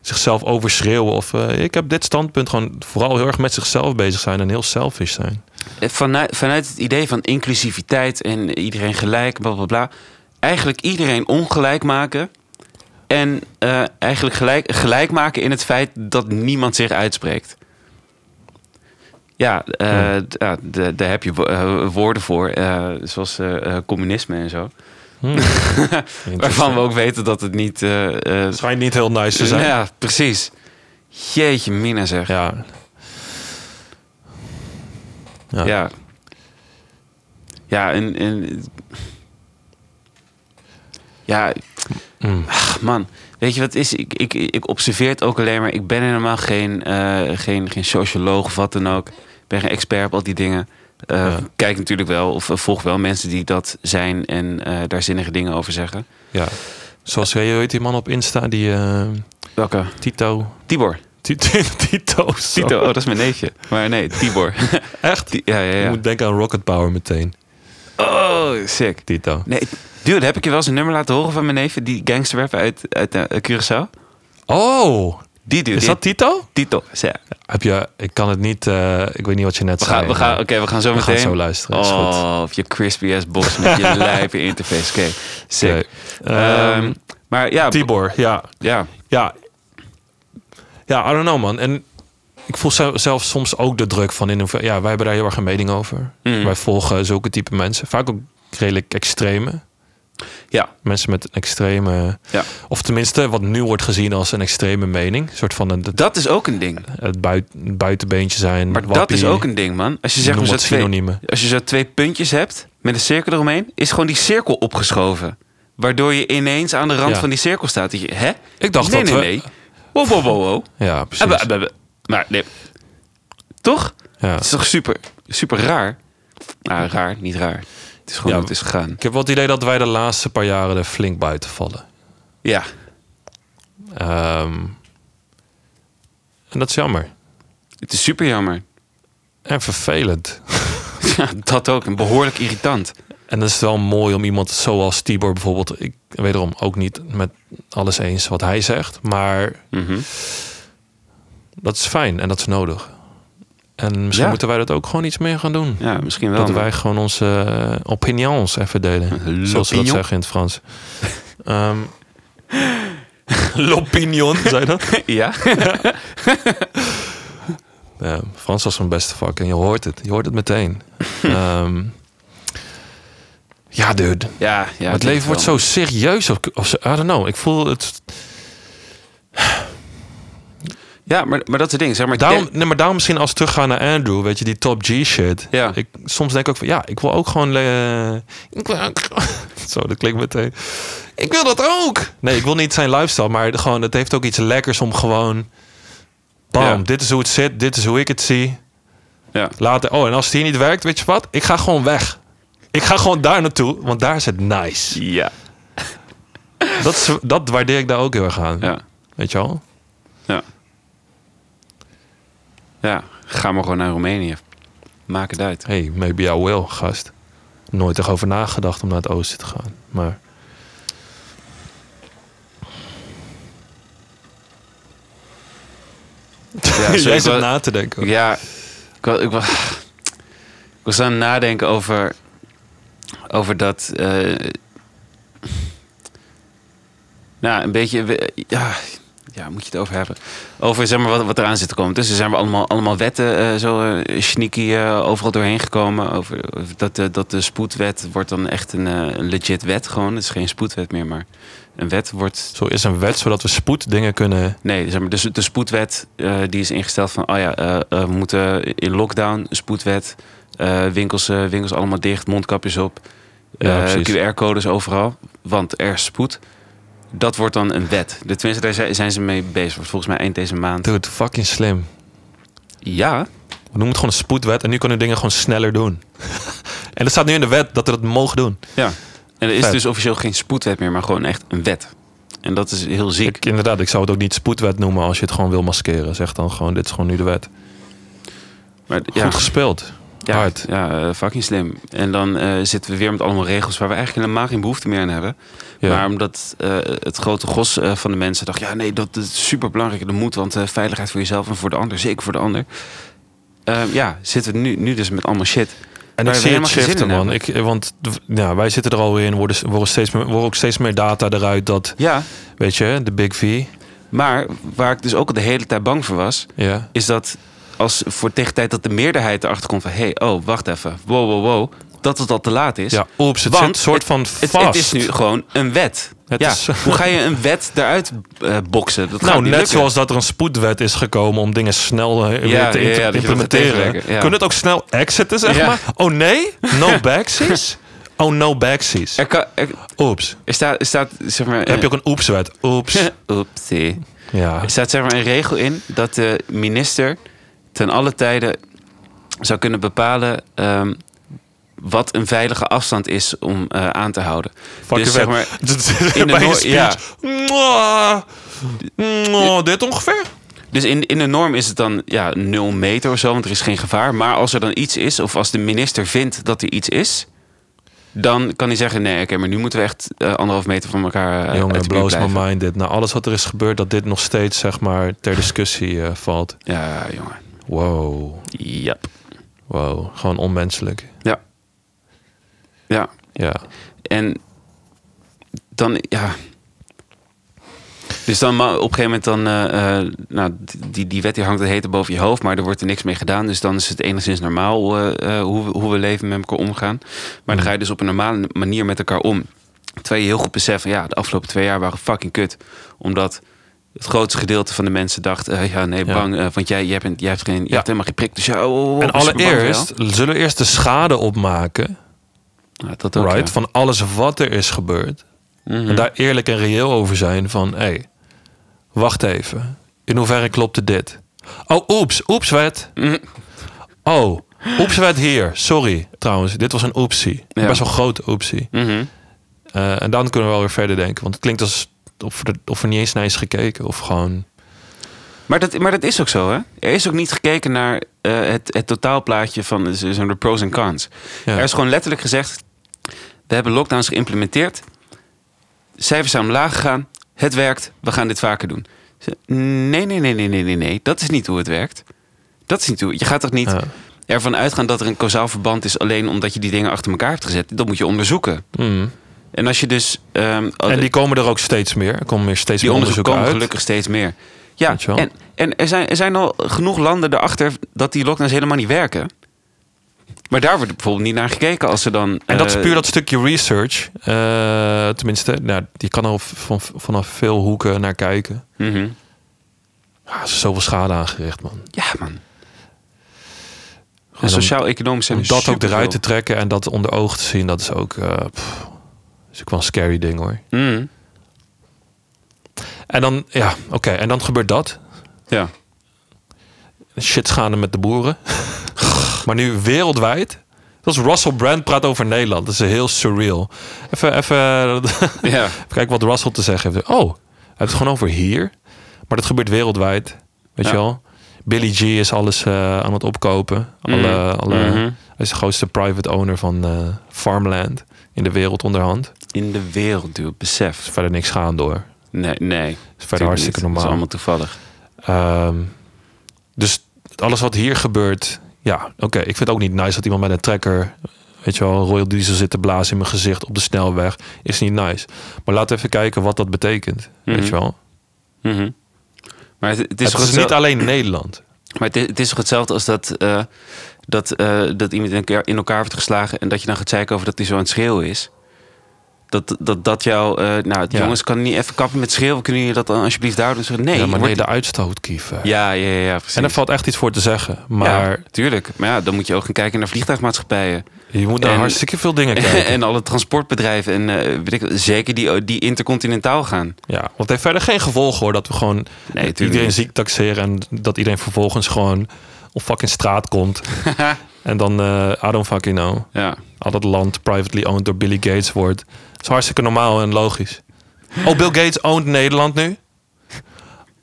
Speaker 2: zichzelf overschreeuwen. Of eh, ik heb dit standpunt gewoon vooral heel erg met zichzelf bezig zijn. En heel selfish zijn.
Speaker 1: vanuit, vanuit het idee van inclusiviteit en iedereen gelijk, bla bla bla. Eigenlijk iedereen ongelijk maken. En eh, eigenlijk gelijk, gelijk maken in het feit dat niemand zich uitspreekt. Ja, eh,
Speaker 2: Ja.
Speaker 1: d- ja, d- daar heb je wo- eh, woorden voor, eh, zoals eh, eh, communisme en zo.
Speaker 2: Hm.
Speaker 1: Waarvan we ook weten dat het niet. eh, eh,
Speaker 2: Het schijnt niet heel nice te zijn.
Speaker 1: ja, precies. Jeetje, Mina zeg. Ja.
Speaker 2: Ja. Ja.
Speaker 1: Ja, ja. en, en. Ja,
Speaker 2: Mm.
Speaker 1: ach, man. Weet je wat het is? Ik, ik, ik observeer het ook alleen maar. Ik ben helemaal geen, eh, geen, geen socioloog of wat dan ook. Ik ben geen expert op al die dingen. Eh,
Speaker 2: Ja.
Speaker 1: Kijk natuurlijk wel of eh, volg wel mensen die dat zijn en eh, daar zinnige dingen over zeggen.
Speaker 2: ja. Zoals je weet die man op Insta, die eh,
Speaker 1: Welke?
Speaker 2: Tito.
Speaker 1: Tibor.
Speaker 2: Ti- Ti- Tito. zo.
Speaker 1: Tito, oh, dat is mijn neefje. Maar nee, Tibor.
Speaker 2: Echt?
Speaker 1: Ti- ja, ja,
Speaker 2: Je
Speaker 1: ja.
Speaker 2: moet denken aan Rocket Power meteen.
Speaker 1: Oh, sick.
Speaker 2: Tito.
Speaker 1: Nee, dude, heb ik je wel eens een nummer laten horen van mijn neef, die gangsterwerper uit, uit eh, Curaçao?
Speaker 2: Oh,
Speaker 1: Die dude,
Speaker 2: is dat Tito?
Speaker 1: Tito? Ja.
Speaker 2: Heb je, ik kan het niet, eh, ik weet niet wat je net
Speaker 1: We
Speaker 2: zei.
Speaker 1: gaan, we gaan, oké, we gaan zo
Speaker 2: We gaan
Speaker 1: meteen.
Speaker 2: zo luisteren, is goed.
Speaker 1: Oh, op je crispy ass box met je lijpe interface. Oké, sick.
Speaker 2: Oké.
Speaker 1: Ehm,
Speaker 2: Ehm,
Speaker 1: maar ja,
Speaker 2: Tibor, ja.
Speaker 1: ja,
Speaker 2: Ja. Ja, I don't know man. En ik voel zo- zelf soms ook de druk van in hoeverre... Ja, wij hebben daar heel erg een mening over.
Speaker 1: Mm.
Speaker 2: Wij volgen zulke type mensen. Vaak ook redelijk extreme.
Speaker 1: ja,
Speaker 2: Mensen met een extreme...
Speaker 1: ja.
Speaker 2: Of tenminste, wat nu wordt gezien als een extreme mening. Een soort van een, het,
Speaker 1: Dat is ook een ding.
Speaker 2: buit- buitenbeentje zijn.
Speaker 1: Maar dat
Speaker 2: Eh, wappie.
Speaker 1: is ook een ding, man. Als je, zeg
Speaker 2: Noem
Speaker 1: maar zo
Speaker 2: wat
Speaker 1: twee,
Speaker 2: synoniemen.
Speaker 1: als je zo twee puntjes hebt met een cirkel eromheen, is gewoon die cirkel opgeschoven. Waardoor je ineens aan de rand
Speaker 2: Ja.
Speaker 1: van die cirkel staat. Dat je, hè?
Speaker 2: Ik dacht
Speaker 1: nee,
Speaker 2: dat
Speaker 1: nee,
Speaker 2: we-
Speaker 1: nee. Wow, wow, wow, wow.
Speaker 2: Ja, precies.
Speaker 1: Abbe, abbe, abbe. Maar nee. Toch?
Speaker 2: Ja.
Speaker 1: Het is toch super, super raar? Nou, raar, niet raar. Het is gewoon
Speaker 2: Ja.
Speaker 1: hoe het is gegaan.
Speaker 2: Ik heb wel het idee dat wij de laatste paar jaren er flink buiten vallen.
Speaker 1: Ja.
Speaker 2: Ehm, en dat is jammer.
Speaker 1: Het is super jammer.
Speaker 2: En vervelend.
Speaker 1: Ja, dat ook. En behoorlijk irritant.
Speaker 2: En dat is wel mooi om iemand zoals Tibor bijvoorbeeld... Ik wederom ook niet met alles eens wat hij zegt. Maar
Speaker 1: Mhm.
Speaker 2: dat is fijn en dat is nodig. En misschien
Speaker 1: Ja.
Speaker 2: moeten wij dat ook gewoon iets meer gaan doen.
Speaker 1: Ja, misschien wel.
Speaker 2: dat
Speaker 1: maar-
Speaker 2: wij gewoon onze eh, opinions even delen. Zoals ze
Speaker 1: L'opinion.
Speaker 2: dat zeggen in het Frans. Ehm L'opinion, zei dat?
Speaker 1: Ja?
Speaker 2: Ja, Frans was mijn beste vak en je hoort het. Je hoort het meteen. Ehm, ja, dude.
Speaker 1: Ja, ja.
Speaker 2: het leven wordt
Speaker 1: wel.
Speaker 2: zo serieus. Of, of zo, I don't know. Ik voel het.
Speaker 1: Ja, maar, maar dat is het ding. Zeg maar,
Speaker 2: Daarom, nee, maar daarom misschien als we teruggaan naar Andrew, weet je, die top G shit.
Speaker 1: Ja.
Speaker 2: Ik, soms denk ik ook van ja, ik wil ook gewoon. eh, ik wil ook- zo, dat klinkt meteen. Ik wil dat ook. Nee, ik wil niet zijn lifestyle, maar gewoon, het heeft ook iets lekkers om gewoon. Bam,
Speaker 1: Ja.
Speaker 2: dit is hoe het zit, dit is hoe ik het zie.
Speaker 1: Ja.
Speaker 2: Later, oh, en als het hier niet werkt, weet je wat? Ik ga gewoon weg. Ik ga gewoon daar naartoe, want daar is het nice.
Speaker 1: Ja.
Speaker 2: Dat, is, dat waardeer ik daar ook heel erg aan.
Speaker 1: Ja.
Speaker 2: Weet je wel?
Speaker 1: Ja. Ja. Ga maar gewoon naar Roemenië. Maak het uit.
Speaker 2: Hey, maybe I will, gast. Nooit erover nagedacht om naar het oosten te gaan. Maar
Speaker 1: Ja, sorry,
Speaker 2: jij
Speaker 1: ik
Speaker 2: zit
Speaker 1: wou-
Speaker 2: na te denken.
Speaker 1: Ja, ik was, ik was, ik was aan het nadenken over, over dat. eh, nou, een beetje. we- Ja, ja, moet je het over hebben. Over zeg maar, wat, wat eraan zit te komen. Dus er zijn we allemaal, allemaal wetten eh, zo eh, sneaky eh, overal doorheen gekomen. Over, over dat, de- dat de spoedwet wordt dan echt een eh, een legit wet gewoon. Het is geen spoedwet meer, maar een wet wordt...
Speaker 2: Zo is een wet zodat we spoed dingen kunnen.
Speaker 1: Nee, zeg maar, dus de spoedwet eh, die is ingesteld van... Oh ja, eh, eh, we moeten in lockdown, spoedwet. eh, winkels, eh, winkels allemaal dicht, mondkapjes op.
Speaker 2: Ja,
Speaker 1: eh,
Speaker 2: precies.
Speaker 1: QR-codes overal, want er is spoed. Dat wordt dan een wet. De- Tenminste, daar zijn- zijn ze mee bezig. Wordt volgens mij eind deze maand.
Speaker 2: Dude, fucking slim.
Speaker 1: Ja,
Speaker 2: We noemen het gewoon een spoedwet en nu kunnen we dingen gewoon sneller doen. en dat staat nu in de wet dat we dat mogen doen.
Speaker 1: ja. En er is
Speaker 2: Vet.
Speaker 1: dus officieel geen spoedwet meer, maar gewoon echt een wet. En dat is heel ziek.
Speaker 2: Ik, inderdaad, ik zou het ook niet spoedwet noemen als je het gewoon wil maskeren. Zeg dan gewoon, dit is gewoon nu de wet.
Speaker 1: maar,
Speaker 2: Goed gespeeld.
Speaker 1: ja,
Speaker 2: hard.
Speaker 1: Ja, eh, fucking slim. En dan eh, zitten we weer met allemaal regels waar we eigenlijk helemaal geen behoefte meer aan hebben.
Speaker 2: Ja.
Speaker 1: Maar omdat eh, het grote gros eh, van de mensen dacht... ja, nee, dat is superbelangrijk. Dat moet, want eh, veiligheid voor jezelf en voor de ander. Zeker voor de ander. Eh, ja, zitten we nu, nu dus met allemaal shit.
Speaker 2: En
Speaker 1: Waar
Speaker 2: ik
Speaker 1: we
Speaker 2: zie het
Speaker 1: helemaal geen zin
Speaker 2: shiften,
Speaker 1: in
Speaker 2: man. Ik, eh, want d- ja, wij zitten er alweer in. Worden, s- worden, steeds meer, worden ook steeds meer data eruit dat,
Speaker 1: Ja,
Speaker 2: weet je, de Big V.
Speaker 1: maar waar ik dus ook de hele tijd bang voor was...
Speaker 2: Ja.
Speaker 1: is dat als voor tegen tijd dat de meerderheid erachter komt van... hé, hey, oh, wacht even, wow, wow, wow, dat het al te laat is.
Speaker 2: Ja, oeps, het
Speaker 1: Want
Speaker 2: zit een soort
Speaker 1: het-
Speaker 2: van
Speaker 1: Het,
Speaker 2: vast.
Speaker 1: het is nu gewoon een wet.
Speaker 2: Het
Speaker 1: ja,
Speaker 2: is-
Speaker 1: Hoe ga je een wet eruit eh, boksen? Dat gaat
Speaker 2: nou,
Speaker 1: niet
Speaker 2: net
Speaker 1: lukken.
Speaker 2: zoals dat er een spoedwet is gekomen om dingen snel eh, weer
Speaker 1: ja,
Speaker 2: te
Speaker 1: ja, dat je dat
Speaker 2: inter-
Speaker 1: gaat
Speaker 2: implementeren.
Speaker 1: tegenwerken, ja.
Speaker 2: Kunnen het ook snel exiten, zeg
Speaker 1: Ja.
Speaker 2: maar? Oh nee? No backsies? Oh, no backsies.
Speaker 1: Er, kan, er,
Speaker 2: Oeps.
Speaker 1: er staat, er staat, zeg maar...
Speaker 2: Heb je ook een oepswet? Oeps.
Speaker 1: een... Oepsie.
Speaker 2: Ja.
Speaker 1: Er staat zeg maar een regel in dat de minister ten alle tijden zou kunnen bepalen... ehm, wat een veilige afstand is om eh, aan te houden.
Speaker 2: Fuck
Speaker 1: dus
Speaker 2: je
Speaker 1: zeg
Speaker 2: zeg
Speaker 1: maar,
Speaker 2: in
Speaker 1: in de
Speaker 2: de Bij je
Speaker 1: Noor- ja.
Speaker 2: speech. Mwah. Mwah, dit ongeveer?
Speaker 1: Dus in, in de norm is het dan ja, 0 meter of zo, want er is geen gevaar. Maar als er dan iets is, of als de minister vindt dat er iets is, dan kan hij zeggen: nee, oké, maar nu moeten we echt eh, anderhalf meter van elkaar. eh, uit
Speaker 2: Jongen,
Speaker 1: de buurt
Speaker 2: blows my
Speaker 1: blijven. Ah.
Speaker 2: mind dit. Na alles wat er is gebeurd, dat dit nog steeds zeg maar ter discussie eh, valt.
Speaker 1: Ja, jongen.
Speaker 2: Wow,
Speaker 1: Ja.
Speaker 2: wow, gewoon onmenselijk.
Speaker 1: Ja. Ja.
Speaker 2: Ja,
Speaker 1: Oh, En dan, ja. Dus dan ma- op een gegeven moment dan, eh, eh, nou, die, die wet die hangt het hete boven je hoofd, maar er wordt er niks mee gedaan. Dus dan is het enigszins normaal eh, eh, hoe, we, hoe we leven met elkaar omgaan. Maar dan ga je dus op een normale manier met elkaar om. Terwijl je heel goed beseft, van, ja, de afgelopen twee jaar waren fucking kut. Omdat het grootste gedeelte van de mensen dacht, eh, ja, nee,
Speaker 2: Ja.
Speaker 1: bang, eh, want jij, jij, bent, jij, hebt geen, jij
Speaker 2: Ja.
Speaker 1: hebt helemaal geen prik. Dus ja, oh, oh, oh,
Speaker 2: en
Speaker 1: super bang voor jou.
Speaker 2: allereerst zullen we eerst de schade opmaken,
Speaker 1: Ja, dat ook,
Speaker 2: right,
Speaker 1: ja.
Speaker 2: van alles wat er is gebeurd.
Speaker 1: Mhm.
Speaker 2: En daar eerlijk en reëel over zijn van, hé, hey, wacht even, in hoeverre klopte dit? Oh, oeps, oepswet.
Speaker 1: Mhm.
Speaker 2: Oh, oepswet hier, sorry. Trouwens, dit was een oepsie.
Speaker 1: Ja.
Speaker 2: Best wel een grote oepsie.
Speaker 1: Mhm.
Speaker 2: Eh, en dan kunnen we wel weer verder denken. Want het klinkt als of er, of er niet eens naar is gekeken. Of gewoon...
Speaker 1: Maar dat, maar dat is ook zo, hè? Er is ook niet gekeken naar eh, het, het totaalplaatje van eh, zo- de pros en cons.
Speaker 2: Ja.
Speaker 1: Er is gewoon letterlijk gezegd... we hebben lockdowns geïmplementeerd. Cijfers zijn omlaag gegaan. Het werkt. We gaan dit vaker doen. Ze- Nee, nee, nee, nee, nee, nee, nee. Dat is niet hoe het werkt. Dat is niet hoe... Je gaat toch niet
Speaker 2: Ja.
Speaker 1: ervan uitgaan dat er een causaal verband is... alleen omdat je die dingen achter elkaar hebt gezet. Dat moet je onderzoeken.
Speaker 2: Mm.
Speaker 1: En als je dus... ehm,
Speaker 2: En die komen er ook steeds meer. Er komen weer steeds
Speaker 1: die
Speaker 2: meer
Speaker 1: onderzoeken
Speaker 2: onderzoeken
Speaker 1: komen gelukkig
Speaker 2: uit.
Speaker 1: steeds meer. Ja,
Speaker 2: Weet je wel?
Speaker 1: en, en er, zijn, er zijn al genoeg landen erachter dat die lockdowns helemaal niet werken. Maar daar wordt bijvoorbeeld niet naar gekeken als ze dan...
Speaker 2: En dat is
Speaker 1: eh,
Speaker 2: puur dat stukje research. Eh, tenminste, nou, die kan er van, vanaf veel hoeken naar kijken.
Speaker 1: mhm.
Speaker 2: Ja, er is zoveel schade aangericht, man.
Speaker 1: Ja, man.
Speaker 2: dan-
Speaker 1: Sociaal-economisch zijn
Speaker 2: Om
Speaker 1: we
Speaker 2: dat ook
Speaker 1: superveel.
Speaker 2: eruit te trekken en dat onder oog te zien, dat is ook... eh pff, is ook wel een scary ding, hoor.
Speaker 1: Mhm.
Speaker 2: En dan, ja, oké. En dan gebeurt dat.
Speaker 1: Ja.
Speaker 2: shit gaande met de boeren. maar nu wereldwijd. Dat is Russell Brand praat over Nederland. Dat is heel surreal. Even, even, even
Speaker 1: ja.
Speaker 2: kijken wat Russell te zeggen heeft. Oh, hij heeft het gewoon over hier. Maar dat gebeurt wereldwijd. Weet
Speaker 1: Ja.
Speaker 2: je wel? Billy G is alles eh, aan het opkopen. Alle,
Speaker 1: Mhm.
Speaker 2: alle,
Speaker 1: Mhm.
Speaker 2: Hij is de grootste private owner van eh, farmland in de wereld onderhand. Er
Speaker 1: In de wereld, dude. Besef.
Speaker 2: is verder niks gaande hoor. Het
Speaker 1: Nee, nee.
Speaker 2: is verder hartstikke
Speaker 1: Dat is
Speaker 2: normaal.
Speaker 1: allemaal toevallig.
Speaker 2: Ehm, dus alles wat hier gebeurt, ja, oké. Ik vind het ook niet nice dat iemand met een trekker, weet je wel, Royal Diesel zit te blazen in mijn gezicht op de snelweg. Is niet nice. Maar laten we even kijken wat dat betekent,
Speaker 1: Mhm.
Speaker 2: weet je wel.
Speaker 1: Mhm. Maar het, het is
Speaker 2: Het
Speaker 1: toch
Speaker 2: is niet
Speaker 1: hetzelfde-
Speaker 2: alleen Nederland.
Speaker 1: maar het, het is toch hetzelfde als dat, eh, dat, eh, dat iemand in elkaar, in elkaar wordt geslagen en dat je dan gaat zeiken over dat hij zo aan het schreeuwen is. Dat dat, dat jou, eh, nou
Speaker 2: Ja.
Speaker 1: jongens, kan niet even kappen met schreeuwen? Kunnen jullie dat dan alsjeblieft daar doen? Zo, Nee,
Speaker 2: ja, maar
Speaker 1: wordt-
Speaker 2: nee, de uitstootkiever.
Speaker 1: ja, ja, ja, ja, precies.
Speaker 2: En daar valt echt iets voor te zeggen. Maar
Speaker 1: Ja, tuurlijk. Maar ja, dan moet je ook gaan kijken naar vliegtuigmaatschappijen.
Speaker 2: je moet naar
Speaker 1: En-
Speaker 2: hartstikke veel dingen kijken.
Speaker 1: en alle transportbedrijven. En eh, weet ik, zeker die, die intercontinentaal gaan.
Speaker 2: Ja, want het heeft verder geen gevolgen hoor. Dat we gewoon
Speaker 1: tuurlijk
Speaker 2: iedereen
Speaker 1: niet.
Speaker 2: ziek taxeren. En dat iedereen vervolgens gewoon op fucking straat komt. en dan eh I don't fucking know.
Speaker 1: Ja.
Speaker 2: Al dat land privately owned door Billy Gates wordt. Dat is hartstikke normaal en logisch. Oh, Bill Gates owned Nederland nu?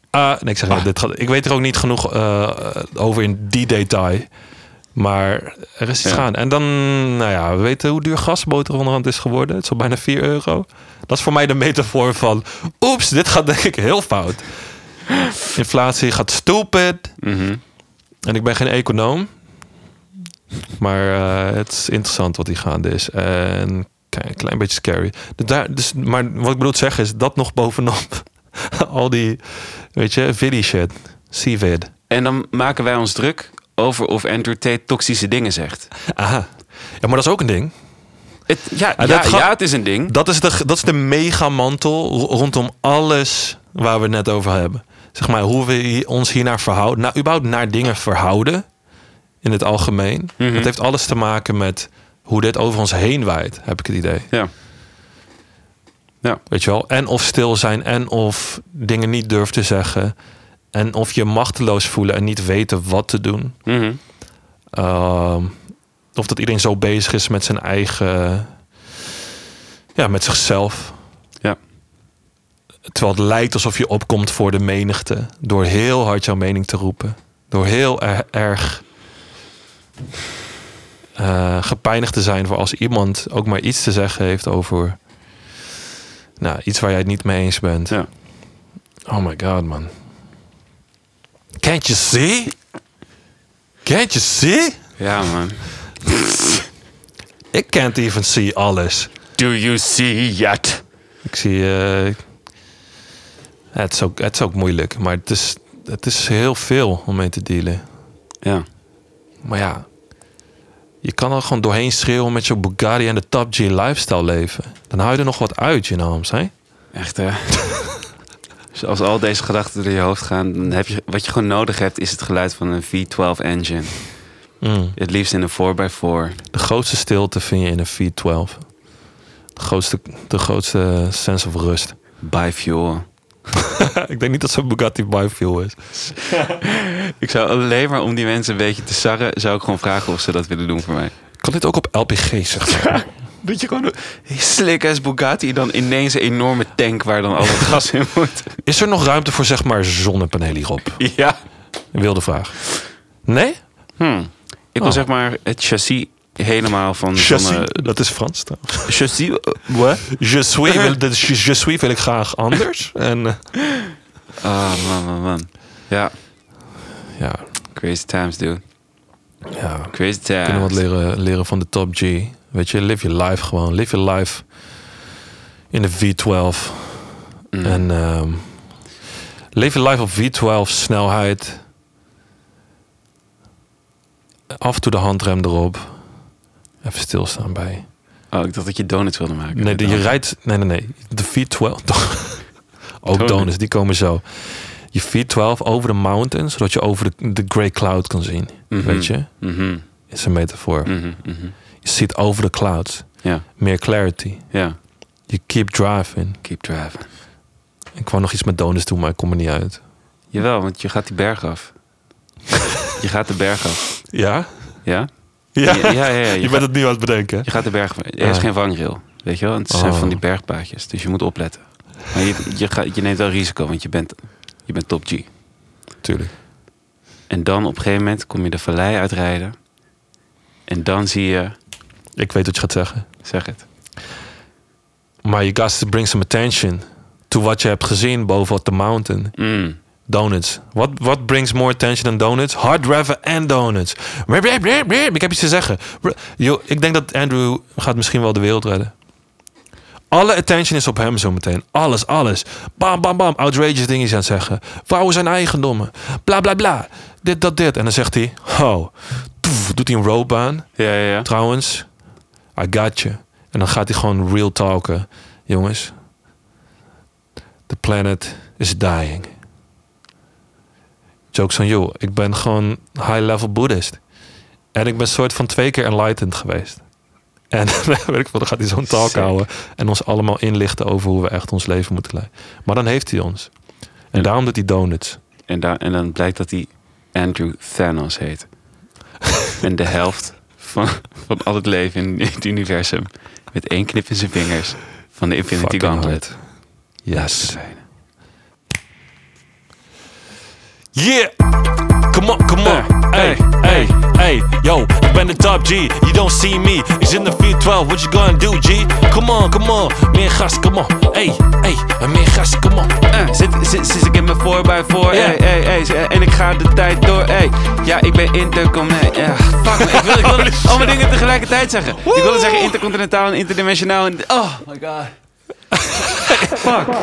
Speaker 2: Ah, nee, ik zeg niet, dit gaat, Ik weet er ook niet genoeg eh, over in die detail. Maar er is iets
Speaker 1: Ja.
Speaker 2: gaan. En dan, nou ja, we weten hoe duur gasboter onderhand is geworden. Het is al bijna 4 euro. Dat is voor mij de metafoor van... Oeps, dit gaat denk ik heel fout. Inflatie gaat stupid.
Speaker 1: Mhm.
Speaker 2: En ik ben geen econoom. Maar eh, het is interessant wat hier gaande is. En k- een klein beetje scary. Dus daar, dus, maar wat ik bedoel te zeggen is dat nog bovenop. Al die, weet je, viddy shit. C-vid.
Speaker 1: En dan maken wij ons druk over of Andrew Tate toxische dingen zegt.
Speaker 2: Aha. Ja, maar dat is ook een ding.
Speaker 1: Het, ja,
Speaker 2: Ah,
Speaker 1: ja,
Speaker 2: dat gaat-
Speaker 1: ja, het is een ding.
Speaker 2: Dat is de, dat is de megamantel ro- rondom alles waar we het net over hebben. Zeg maar hoe we hi- ons hiernaar verhouden. Nou, überhaupt naar dingen verhouden. In het algemeen.
Speaker 1: Mhm.
Speaker 2: Het heeft alles te maken met hoe dit over ons heen waait. Heb ik het idee.
Speaker 1: Ja.
Speaker 2: Weet je wel? En of stil zijn. En of dingen niet durven te zeggen. En of je machteloos voelen en niet weten wat te doen.
Speaker 1: Mhm.
Speaker 2: Ehm, of dat iedereen zo bezig is met zijn eigen. Ja, met zichzelf.
Speaker 1: Ja.
Speaker 2: Terwijl het lijkt alsof je opkomt voor de menigte. Door heel hard jouw mening te roepen. Door heel er- erg. eh gepeinigd te zijn voor als iemand ook maar iets te zeggen heeft over. Nou, iets waar jij het niet mee eens bent.
Speaker 1: Ja.
Speaker 2: Oh my god, man. Can't you see? Can't you see?
Speaker 1: ja, man.
Speaker 2: Ik can't even see alles.
Speaker 1: Do you see yet?
Speaker 2: Ik zie. eh het, is ook, het is ook moeilijk, maar het is, het is heel veel om mee te dealen.
Speaker 1: Ja.
Speaker 2: Maar ja, je kan er gewoon doorheen schreeuwen met je Bugatti en de Top G lifestyle leven. Dan hou je er nog wat uit, je naams, hè?
Speaker 1: Echt, hè? Dus als al deze gedachten door je hoofd gaan, dan heb je, wat je gewoon nodig hebt, is het geluid van een V12 engine.
Speaker 2: Mm.
Speaker 1: Het liefst in een 4x4.
Speaker 2: De grootste stilte vind je in een V12. De grootste, de grootste sense of rust.
Speaker 1: Bifuel.
Speaker 2: Ik denk niet dat zo'n Bugatti Bifuel is.
Speaker 1: Ik zou alleen maar om die mensen een beetje te sarren, zou ik gewoon vragen of ze dat willen doen voor mij.
Speaker 2: Kan dit ook op LPG zeggen?
Speaker 1: Dat je gewoon een slick ass Bugatti dan ineens een enorme tank waar dan al het gas in moet.
Speaker 2: Is er nog ruimte voor zeg maar zonnepanelen hierop?
Speaker 1: Ja.
Speaker 2: Wilde vraag. Nee?
Speaker 1: Hmm. Ik wil
Speaker 2: Oh.
Speaker 1: zeg maar het chassis helemaal van... Van, eh,
Speaker 2: dat is Frans trouwens.
Speaker 1: chassis? eh, Wat?
Speaker 2: Je suis, wil, de, je, je suis wil ik graag anders. En, eh,
Speaker 1: Ah, man, man, man. Ja.
Speaker 2: ja,
Speaker 1: Crazy times, dude.
Speaker 2: ja, we
Speaker 1: Crazy times.
Speaker 2: kunnen wat leren, leren van de top G. Weet je, live your life gewoon. Live your life in de V12.
Speaker 1: Mm.
Speaker 2: En ehm leef je life op V12 snelheid. Af en toe de handrem erop. Even stilstaan bij.
Speaker 1: Oh, ik dacht dat je donuts wilde maken.
Speaker 2: Nee, de- je rijdt. Nee, nee, nee. De V12. toch? Ook
Speaker 1: Donuts.
Speaker 2: donuts, die komen zo. Je V12 over de mountain, zodat je over de, de Grey Cloud kan zien.
Speaker 1: Mhm.
Speaker 2: Weet je?
Speaker 1: Mhm,
Speaker 2: Is een metafoor.
Speaker 1: mhm, mhm.
Speaker 2: Je ziet over de clouds.
Speaker 1: Ja,
Speaker 2: Meer clarity.
Speaker 1: ja.
Speaker 2: Je keep driving.
Speaker 1: Keep driving.
Speaker 2: Ik wou nog iets met donuts doen, maar ik kom er niet uit.
Speaker 1: Jawel, want je gaat die berg af. je gaat de berg af.
Speaker 2: Ja?
Speaker 1: Ja?
Speaker 2: Ja.
Speaker 1: ja, ja. ja, je,
Speaker 2: Je bent
Speaker 1: gaat,
Speaker 2: het nu aan het bedenken.
Speaker 1: je gaat de berg af. Er is
Speaker 2: Ah.
Speaker 1: geen vangrail. Weet je wel? Het zijn
Speaker 2: Oh.
Speaker 1: van die bergpaadjes. Dus je moet opletten. Maar je, je, gaat, je neemt wel risico, want je bent, je bent top G.
Speaker 2: Tuurlijk.
Speaker 1: En dan op een gegeven moment kom je de vallei uitrijden. En dan zie je...
Speaker 2: Ik weet wat je gaat zeggen.
Speaker 1: Zeg het.
Speaker 2: Maar you got to bring some attention to what je hebt gezien boven op de mountain.
Speaker 1: Mm.
Speaker 2: Donuts. What, what brings more attention than donuts? Hard driver en donuts. Brr, brr, brr, brr. Ik heb iets te zeggen. Brr. Yo, ik denk dat Andrew gaat misschien wel de wereld redden. Alle attention is op hem zometeen. Alles, alles. Bam, bam, bam. Outrageous dingetjes aan het zeggen. Vrouwen zijn eigendommen. Bla, bla, bla. Dit, dat, dit. En dan zegt hij... Oh. Toef, doet hij een rope aan.
Speaker 1: Ja, ja, ja.
Speaker 2: Trouwens, I got you. En dan gaat hij gewoon real talken. Jongens, the planet is dying. Jokes van, joh, ik ben gewoon high-level boeddhist. En ik ben soort van twee keer enlightened geweest. En weet ik veel, dan gaat hij zo'n talk
Speaker 1: Sick.
Speaker 2: houden. En ons allemaal inlichten over hoe we echt ons leven moeten leiden. Maar dan heeft hij ons. En
Speaker 1: Ja.
Speaker 2: daarom doet hij donuts.
Speaker 1: En, daar, en dan blijkt dat hij Andrew Thanos heet. en de helft van, van al het leven in het universum. Met één knip in zijn vingers van de Infinity
Speaker 2: Fucking
Speaker 1: Gauntlet.
Speaker 2: Yes. Yeah! Come on, come on. Hey, hey, hey. Yo, ik ben de top G. You don't see me. Is in de 412. What you gonna do, G? Come on, come on. Meer gas, come on. Hey, hey. Meer gas, come on.
Speaker 1: Eh, zit, zit, zit ik in mijn 4x4
Speaker 2: Ja.
Speaker 1: hey, hey, hey, z- en ik ga de tijd door hey. Ja, ik ben intercom nee, ja, Fuck, me, ik wil, ik wil al mijn dingen tegelijkertijd zeggen Ik wilde zeggen intercontinentaal en interdimensionaal en, Oh my god Fuck